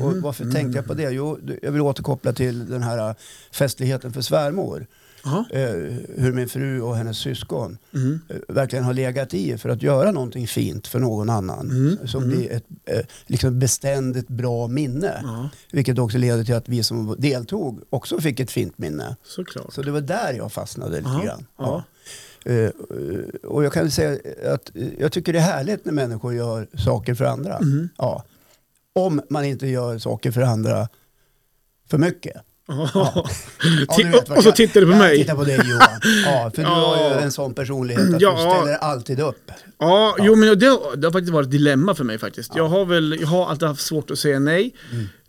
Och Mm. varför tänkte jag på det? Jo, jag vill återkoppla till den här eh, festligheten för svärmor. Ja. Eh, Hur min fru och hennes syskon Mm. eh, verkligen har legat i för att göra någonting fint för någon annan. Mm. Som blir ett eh, liksom beständigt bra minne. ja, Vilket också leder till att vi som deltog också fick ett fint minne. såklart. Så det var där jag fastnade lite Ja, grann. ja. Eh, eh, och jag kan väl säga att eh, jag tycker det är härligt när människor gör saker för andra. Mm. Ja. Om man inte gör saker för andra för mycket. Ja. Ja, *laughs* Ti- du vet vad och så jag- tittar du på jag mig. tittar på dig Johan. Ja, för du Ja. har ju en sån personlighet att Ja. du ställer alltid upp. Ja, jo, men det, har- det har faktiskt varit ett dilemma för mig faktiskt. Jag, har väl, jag har alltid haft svårt att säga nej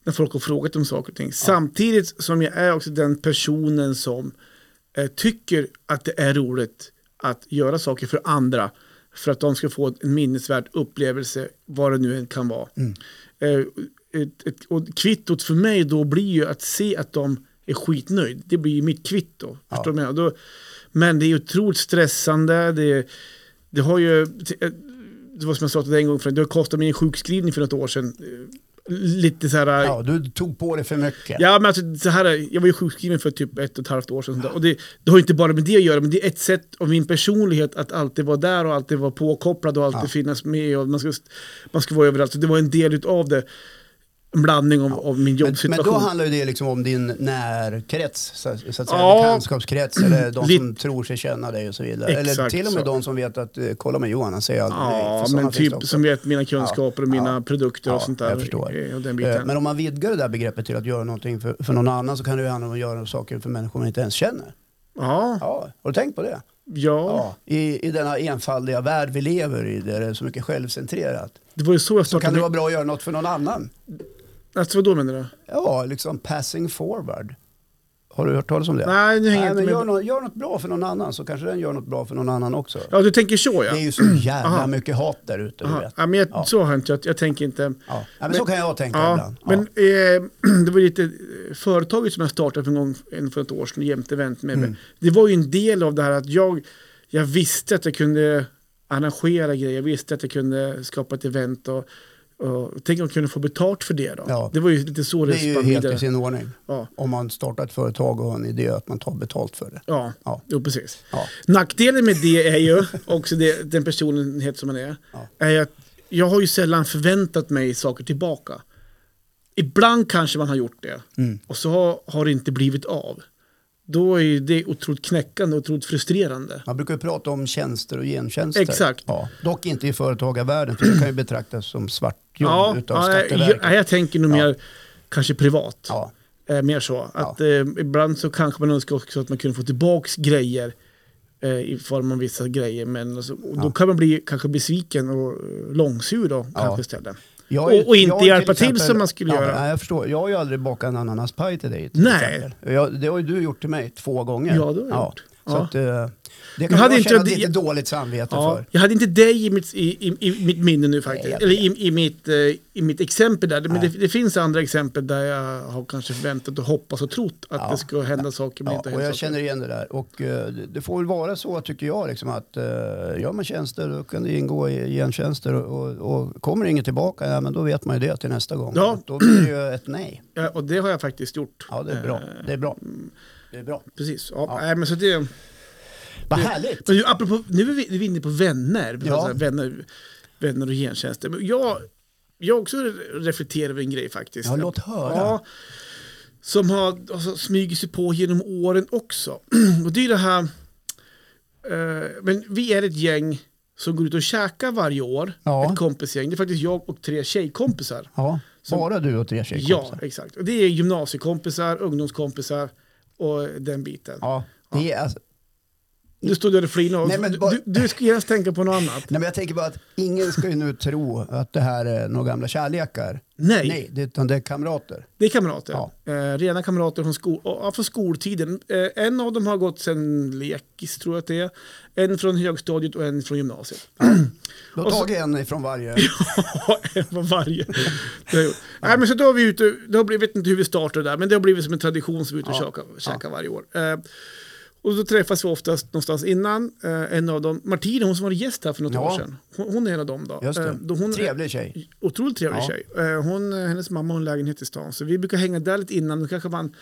när folk har frågat om saker och ting. Samtidigt som jag är också den personen som eh, tycker att det är roligt att göra saker för andra för att de ska få en minnesvärd upplevelse, vad det nu än kan vara. Eh, ett, ett, och kvittot för mig då blir ju att se att de är skitnöjd. Det blir ju mitt kvitto. Förstår du vad jag menar? Då, men det är ju otroligt stressande. Det, är- det har ju, det var som jag sa till dig en gång, för det har kostat mig en sjukskrivning för något år sedan. Eh, Lite så här, Ja, du tog på dig för mycket. Ja, men alltså, så här, är- jag var ju sjukskriven för typ ett och ett halvt år sedan. Och det, det har ju inte bara med det att göra, men det är ett sätt av min personlighet att alltid vara där och alltid vara påkopplad och alltid finnas med. Och man, ska, man ska vara överallt, så det var en del av det. en blandning av, av min Men, men då jobbsituation. handlar ju det liksom om din närkrets, så, så att säga, Ja. bekantskapskrets eller de Lite- som tror sig känna dig och så vidare. Exakt eller till och med så. de som vet att eh, kolla med Johan, han säger aldrig nej. ja, för sådana men finns det typ också. som vet mina kunskaper och Ja, mina ja. produkter och Ja, sånt där. jag förstår. eh, Och den Eh, biten. Men om man vidgar det där begreppet till att göra någonting för, för någon annan så kan det ju handla om att göra saker för människor man inte ens känner. ja, ja. Ja, har du tänkt på det? Ja. I, I denna enfaldiga värld vi lever i där det är så mycket självcentrerat. Det var ju så jag Så kan startade. det Det vara bra att göra något för någon annan. alltså, vad då menar du? Ja, liksom passing forward. Har du hört talas om det? Nej, nu hänger Nej, jag inte men med. gör, något, gör något bra för någon annan så kanske den gör något bra för någon annan också. Ja, du tänker så ja. Det är *clears throat* ju så jävla Aha. mycket hat där ute, du Aha. vet. ja, men jag, Ja. så har jag inte, jag, jag tänker inte. Ja. Ja, men så kan jag tänka Ja, ibland. Ja. men eh, *clears throat* det var ju lite eh, företaget som jag startade för en gång en- för ett år sedan, jämte event med Mm. mig. Det var ju en del av det här att jag, jag visste att jag kunde arrangera grejer, jag visste att jag kunde skapa ett event och, och tänk om jag kunde få betalt för det då. Ja. Det var ju lite så det, det är ju spann helt vidare. i sin ordning. Ja, Om man startar ett företag och har en idé att man tar betalt för det. ja. Ja. Jo, precis. Ja. Nackdelen med det är ju också det, den personlighet som man är. Ja. är att jag har ju sällan förväntat mig saker tillbaka. Ibland kanske man har gjort det Mm. och så har, har det inte blivit av. Då är ju det otroligt knäckande och otroligt frustrerande. Man brukar ju prata om tjänster och gentjänster. Exakt. Ja. Dock inte i företagarvärlden, för det kan ju betraktas som svartjobb Ja, utav ja, jag, Skatteverket. jag, jag tänker nog Ja. mer kanske privat. Ja. Eh, mer så. Att, eh, ibland så kanske man önskar också att man kunde få tillbaka grejer eh, i form av vissa grejer. Men alltså, och då Ja. kan man bli kanske besviken och eh, långsur då kanske istället. Jag Och- och inte jag har ju hjälpa till som man skulle ja, göra. Nej, jag förstår. Jag har ju aldrig bakat en ananaspaj till dig. Till Nej. exempel. Jag, det har ju du gjort till mig två gånger. Ja, det har jag gjort. Så Ja. att, eh, det kan hade jag inte känna jag- lite dåligt samvete Ja, för. jag hade inte dig i mitt, i, i, i mitt minne nu faktiskt. Nej, jag Eller i, i, mitt, eh, i mitt exempel där. Men det, Nej. det finns andra exempel där jag har kanske förväntat och hoppats och trott att Ja. det skulle hända saker men Ja, inte och hända jag saker. känner igen det där. Och, eh, det- det får väl vara så tycker jag liksom, att eh, gör man tjänster då kan det ingå i gentjänster och, och, och kommer det inget tillbaka, ja, men då vet man ju det till nästa gång. Ja. Då blir det ju ett nej. Ja, och det har jag faktiskt gjort. Ja, det är bra. Eh, Det är bra. Det är bra. Precis. Ja, Ja. Nej, men så det, Vad härligt! men ju, apropå, nu är vi, vi är inne på vänner. Vi Ja. har så här Vänner, vänner och gentjänster. Men jag, jag också reflekterar över en grej faktiskt. Ja, låt höra. Ja, som har alltså, smugit sig på genom åren också. *clears throat* och det är ju det här, eh, men vi är ett gäng som går ut och käkar varje år. Ja. Ett kompisgäng. Det är faktiskt jag och tre tjejkompisar. Ja, Som- bara du och tre tjejkompisar. Ja, exakt. Och det är gymnasiekompisar, ungdomskompisar och den biten. Ja, det är, alltså, Nu stod jag och flinade. Nej, men Du- bara- du, du skulle genast tänka på något annat. nej, men jag tänker bara att ingen ska ju nu tro att det här är några gamla kärlekar. Nej, Nej, det, utan det är kamrater. det är kamrater. Ja. Eh, rena kamrater från, sko- ja, från skoltiden. Eh, en av dem har gått sen lekis, tror jag att det är. En från högstadiet och en *laughs* från gymnasiet. *laughs* Då Och så- tar vi en ifrån varje. en från varje. Det har jag gjort. Nej, men så då har vi ute, det har blivit, jag vet inte hur vi startade det där, men det har blivit som en tradition som vi är ute och Ja. käkar, käkar varje år. Eh, och då träffas vi oftast någonstans innan. Eh, en av dem, Martina, hon som var gäst här för något Ja. år sedan, hon, hon är en av dem. Då. Just det. Eh, då hon, Trevlig tjej. Otroligt trevlig Ja. tjej. Eh, Hon, eh, hennes mamma har en lägenhet i stan, så vi brukar hänga där lite innan. Då kanske man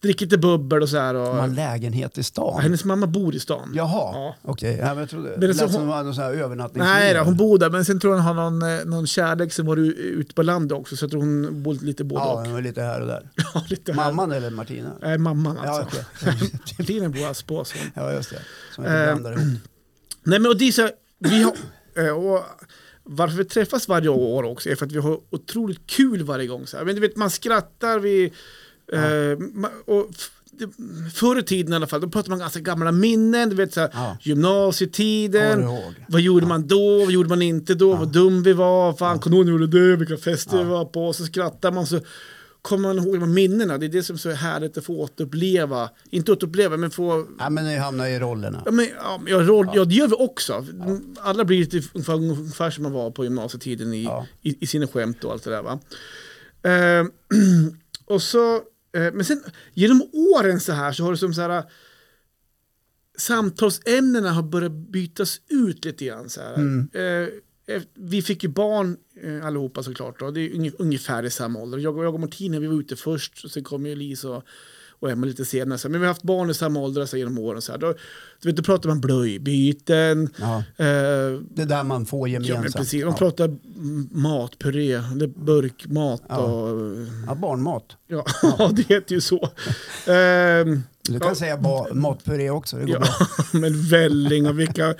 dricker lite bubbel och så här. Och, De har lägenhet i stan. Hennes mamma bor i stan. Jaha, Ja. okej. Ja, men jag trodde det det lät så som hon- hon hade någon sån här övernattningslinje. Nej, då, hon bor där, men sen tror jag hon har någon, eh, någon kärlek som var u- ute på landet också, så jag tror hon bor lite både Ja, och. hon var lite här och där. *laughs* Ja, lite här. Mamman eller Martina? Nej, mamman Ja, alltså. okej. Martina bor i Aspås. hon. ja just det. Som Eh, inte blandar ihop. Nej, men och det är så här, vi har, *clears throat* eh, och varför vi träffas varje år också är för att vi har otroligt kul varje gång. Så här. Men du vet, man skrattar, vi... Eh, ma- och f- det, förr i tiden i alla fall, då pratade man ganska gamla minnen, du vet så här, Ja. Kommer gymnasietiden. du ihåg? Vad gjorde man då? Vad gjorde man inte då? Vad dum vi var. Fan, kommer du ihåg när vi gjorde det? Vilka fester vi var på? Och så skrattar man så kommer man ihåg de här minnena. Det är det som är så härligt att få återuppleva. Inte återuppleva, men få... Ja, men ni hamnar i rollerna. Ja, men, ja, men jag roll, ja. det gör vi också. Alla blir lite ungefär, ungefär som man var på gymnasietiden i, Ja. i, i sina skämt och allt det där. Va? Eh, och så, eh, men sen genom åren så här så har det som så här samtalsämnena har börjat bytas ut lite grann. Så här. Mm. Eh, eft- vi fick ju barn eh, allihopa såklart, då. det är unge- ungefär i samma ålder. Jag, och- jag och Martina vi var ute först, och sen kom ju Elise och, och Emma lite senare. Så här, men vi har haft barn i samma ålder så här, genom åren. Så här. Då, du vet, då pratar man blöjbyten. Ja. Eh, Det där man får ja, men gemensamt. precis. Man Ja. pratar mm, matpuré, eller burkmat. Ja. Och, eh, Ja, barnmat. ja, ja, *laughs* det heter ju så. Ehm, Du kan säga ba- matpuré också. Det går Ja, bra. *laughs* men välling och vilka... Nej,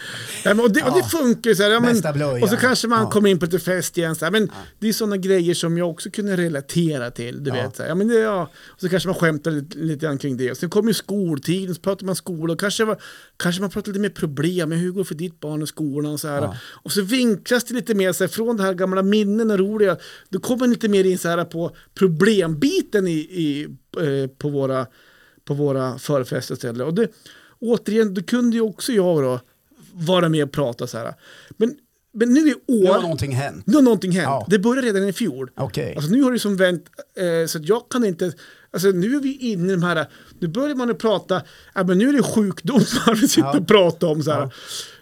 men, och, det, och det Ja. funkar ju så här. Ja, men, Bästa blöja. och så kanske man Ja. kommer in på lite fest igen. Så här, men Det är sådana grejer som jag också kunde relatera till. Du Ja. vet, så, här, ja, men det, ja. och så kanske man skämtar lite, lite grann kring det. Och sen kommer ju skoltiden, så pratar man skola. Och kanske, var, kanske man pratar lite mer problem. Men hur går det för ditt barn i skolan? Och så, här. Ja. och så vinklas det lite mer så här, från det här gamla minnen och roliga. Då kommer man lite mer in så här, på problembiten i, i, eh, på våra på våra förfester och ställen. Och det, återigen, då kunde ju också jag då vara med och prata så här. Men, men nu i Nu har år, någonting hänt. nu har någonting hänt. Ja. Det började redan i fjol. Okej. Alltså nu har det som vänt, eh, så att jag kan inte, alltså nu är vi inne i de här, nu börjar man att prata, ja men nu är det sjukdomar vi sitter Ja. och pratar om så här.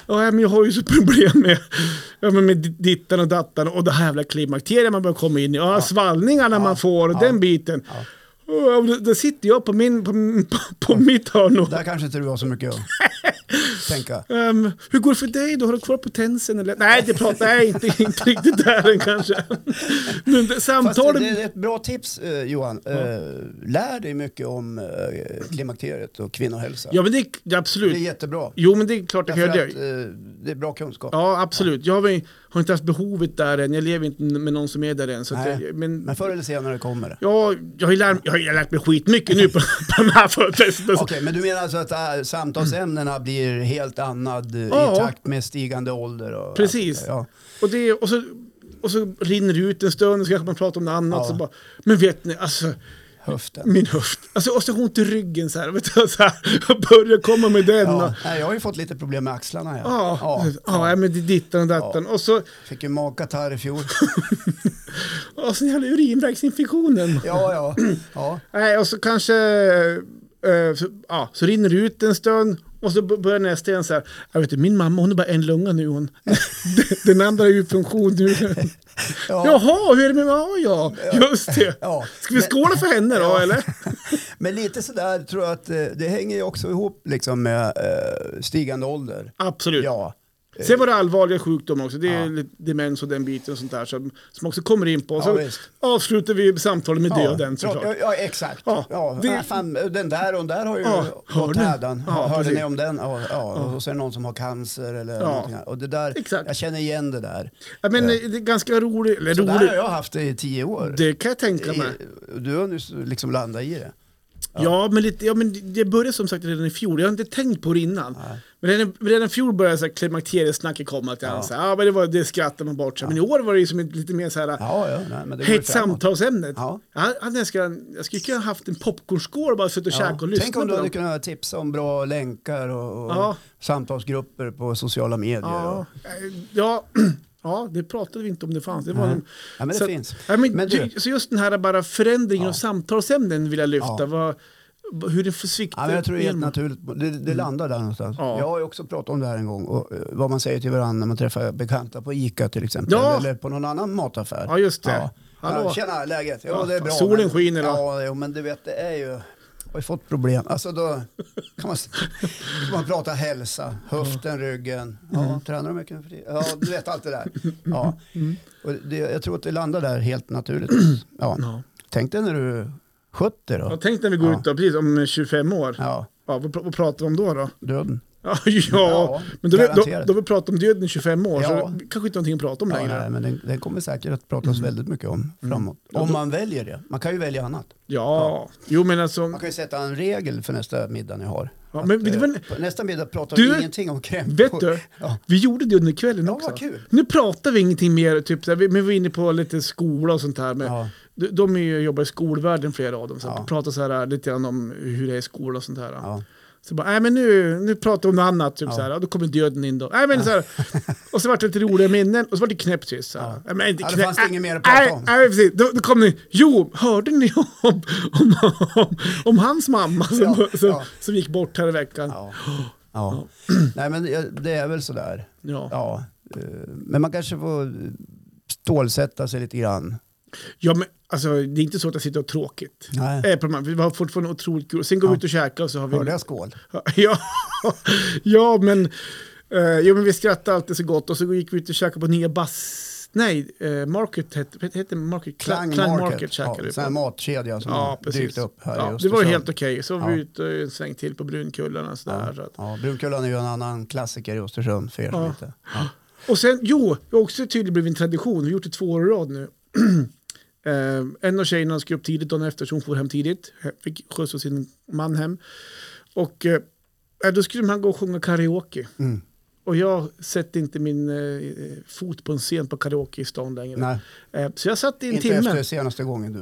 Ja. men jag har ju så *laughs* problem med, ja, men med dittan och dattan och det här jävla klimakteriet man börjar komma in i. Ja, svallningarna man får och den biten. Ja. Och då, då sitter jag på, min, på, på, på mitt hörn och, Där kanske inte du har så mycket *laughs* att tänka. ehm, hur går det för dig då? Har du kvar potensen eller? Nej, det pratar jag inte, inte riktigt där än kanske. Men det- Fast samtalen... det är ett bra tips eh, Johan. Eh, lär dig mycket om eh, klimakteriet och kvinnohälsa. Ja, men det, det- absolut. Det är jättebra. Jo, men det är klart jag kan Därför göra att, det. eh, det är bra kunskap. Ja, absolut. Jag har, väl- har inte haft behovet där än. Jag lever inte med någon som är där än. Så att Nej, jag, men, Men förr eller senare kommer det. ja, jag, har ju lärt, jag har ju lärt mig skitmycket nu på, på den här förfesten. Okej, men du menar alltså att äh, samtalsämnena blir helt annad eh, Ja. i takt med stigande ålder? Och Precis. Allt, ja. Och, det, och, så, och så rinner det ut en stund och så kanske man pratar om något annat. Ja. Så bara, men vet ni, alltså Höften. min höft. Alltså, och så har jag ont i ryggen så här. Vet du, så här och börjar komma med den. och- Ja. Nej, jag har ju fått lite problem med axlarna. Ja. Ja, ja, Ja. ja, men det är dittan och dattan. Och så, Fick ju magkatarr i *laughs* fjol. och så den jävla urinvägsinfektionen. Ja, ja. ja. Nej, och så kanske... eh, så, ja, så rinner det ut en stund och så b- börjar nästa igen så här. Jag vet inte, min mamma hon har bara en lunga nu hon. *laughs* Den andra är ju i funktion nu. ja. Jaha, hur är det med... Ja, ja, just det. Ja. Ska vi skåla för henne då, Ja. eller? Men lite sådär tror jag att eh, det hänger ju också ihop liksom med eh, stigande ålder. Absolut. Ja. Eh, Sen var det allvarliga sjukdomar också. Det är Ja. lite demens och den biten och sånt där som, som också kommer in på. Och Ja, så visst. avslutar vi samtalet med döden ja, såklart. ja, ja, exakt. Ja, Ja, det- nej, fan, den där och den där har ju Ja, gått hörde ni? hädan. Ja, Ja, hörde precis. ni om den? Ja, ja, Och så är det någon som har cancer eller Ja, någonting. Och det där, exakt. jag känner igen det där. Ja, men eh, det är ganska roligt. Eller Så där roligt. har jag haft det i tio år. Det kan jag tänka mig. I- Du har nu liksom landat i det. Ja, men, lite, ja, men det började som sagt redan i fjol. Jag har inte tänkt på det innan. Nej. Men redan, redan i fjol började så här klimakteriesnacket komma. Att ja. Ja. Så här, ja, men det, var, det skrattar man bort. Så. här. Men i år var det ju som ett, lite mer så här, Ja, ja, nej, men det går ju hett framåt. samtalsämnet. Ja. Jag, hade nästan, jag skulle kunna haft en popcornskål och bara suttit och Ja. käkat och lyssnat Tänk om på du hade dem. kunnat tipsa om bra länkar och, och Ja. samtalsgrupper på sociala medier. Ja. Eh, Och, Ja. *clears throat* ja, det pratade vi inte om det fanns. Det var Nej. en- ja, men det så, att- finns. Ja, men, Men du, du- så just den här bara förändringen Ja. av samtalsämnen vill jag lyfta. Ja. Vad, hur den sviktar. Ja, men jag tror det är helt Elmo. naturligt. Det, det landar där någonstans. Mm. Ja. Jag har ju också pratat om det här en gång. Och eh, vad man säger till varandra när man träffar bekanta på ICA till exempel. Ja. Eller på någon annan mataffär. Ja, just det. Hallå. Ja, tjena, läget? Ja, Ja, det är bra. solen men, skiner då. Ja, jo, men du vet, det är ju... Har ju fått problem. Alltså då kan man, s- kan man prata hälsa, höften, ryggen. Ja, Mm. tränar du mycket nu för tiden? Ja, du vet allt det *laughs* där. Ja. Och det, jag tror att det landar där helt *clears throat* naturligt. Ja. Ja. Tänk dig när du är 70 då. Ja, tänk när vi går Ja. ut då, precis om 25 år. Ja. Ja, vad, pr- vad pratar vi om då? *laughs* då? döden. Ja, ja, men då, då, garanterat. då vi pratar om döden i 25 år så Ja. kanske inte någonting att prata om Ja, längre. nej, men den, den kommer säkert att pratas Mm. väldigt mycket om framåt. Om man väljer det. Man kan ju välja annat. Ja, jo men alltså. Man kan ju sätta en regel för nästa middag ni har. Ja, men, Att, det var, eh, på nästa middag pratar Du- vi ingenting om krämpor. vet du, Ja. vi gjorde det under kvällen Ja, också. vad kul. Nu pratar vi ingenting mer, typ, så här, vi, men vi var inne på lite skola och sånt här. Men Ja. de, de är ju, jobbar i skolvärlden flera av dem. Så Ja. Pratar så här lite grann om hur det är i skolan och sånt här. Ja. Så bara, nej men nu, nu pratar vi om något annat, typ Ja. så här, och då kommer döden in då. Nej men *laughs* så här, och så vart det lite roliga minnen, och så vart det knäppt tyst. så här. Ja. Nej, men inte Ja, det knä- fanns det inget mer att nej, prata om. Nej, precis. Då, då kom ni, jo, hörde ni om, om, om, om hans mamma som, Ja, *laughs* som, ja. som gick bort här i veckan? Ja. Ja. Ja. Nej, men det- det är väl sådär. Ja. Ja. eh, Men man kanske får stålsätta sig lite grann. men Alltså, det är inte så att jag sitter och har tråkigt. Nej. Eh, på de här- Vi har fortfarande otroligt kul. Sen går vi Ja. ut och käkar och så har vi... Hörde jag skål? *laughs* Ja, ja men, eh, jo, men vi skrattade alltid så gott och så gick vi ut och käkade på nya bass... Nej, eh, Market hette het, heter Market. Klang, Market, käkade ja, vi sån här på. matkedja som Ja, har precis. dykt upp här i ja, det Östersund. var ju helt okej. Så var vi Ja. ute en sväng till på Brunkullarna. Sådär, så att, Ja, Brunkullan är ju en annan klassiker i Östersund för er som Ja. inte... Ja. Och sen, jo, det har också tydligen blivit en tradition. Vi har gjort det två år i rad nu. *clears throat* eh, en av tjejerna ska upp tidigt dagen efter, så hon får hem tidigt. He- Fick skjuts av sin man hem. Och eh, eh, då skulle man gå och sjunga karaoke. Mm. Och jag sätter inte min eh, fot på en scen på karaoke i stan längre. Nej, Eh, så jag satt i en inte timme. efter senaste gången du.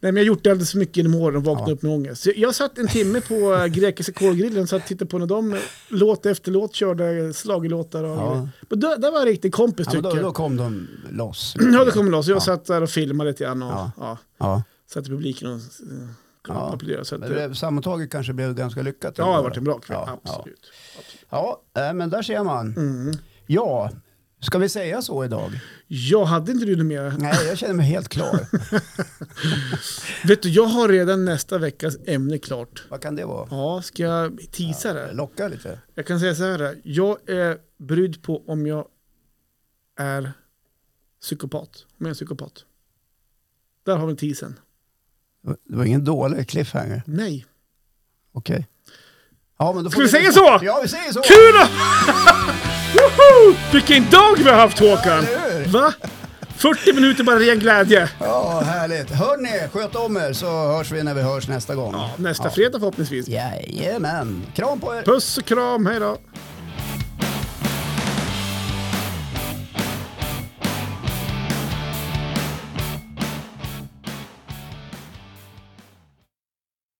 Nej, men jag har gjort det alldeles för mycket genom åren och vaknat Ja. upp med ångest. Så jag satt en timme på *laughs* eh, grekiska kolgrillen så att titta på när de eh, låt efter låt körde schlagerlåtar. Och Ja. Men där, där var jag riktigt kompis Ja, men tycker då, jag. då kom de loss. *clears throat* Ja, det kommer loss. Jag Ja. satt där och filmade lite grann och ja. Ja. Ja. satt i publiken och eh, Ja. applåderade. Så att, Men det, det, sammantaget kanske blev ganska lyckat. ja, det har varit en bra kväll. Ja, Absolut. Absolut. Ja, äh, men där ser man. Mm. Ja, ska vi säga så idag? Jag hade inte du något mer. Nej, jag känner mig helt klar. Vet du, jag har redan nästa veckas ämne klart. Vad kan det vara? Ja, ska jag tisa det? Locka lite? Jag kan säga så här. Jag är brydd på om jag är psykopat. Om jag är en psykopat. Där har vi tisen. Det var ingen dålig cliffhanger. Nej. Okej. Ja, men då Ska får vi säga så? Ja, vi säger så! Kul! *laughs* Woho! Vilken dag vi har haft Håkan! Eller hur? Va? 40 minuter bara ren glädje. Ja, härligt. Hörni, sköt om er så hörs vi när vi hörs nästa gång. Ja, nästa fredag förhoppningsvis. Jajamän. Kram på er! Puss och kram, hej då.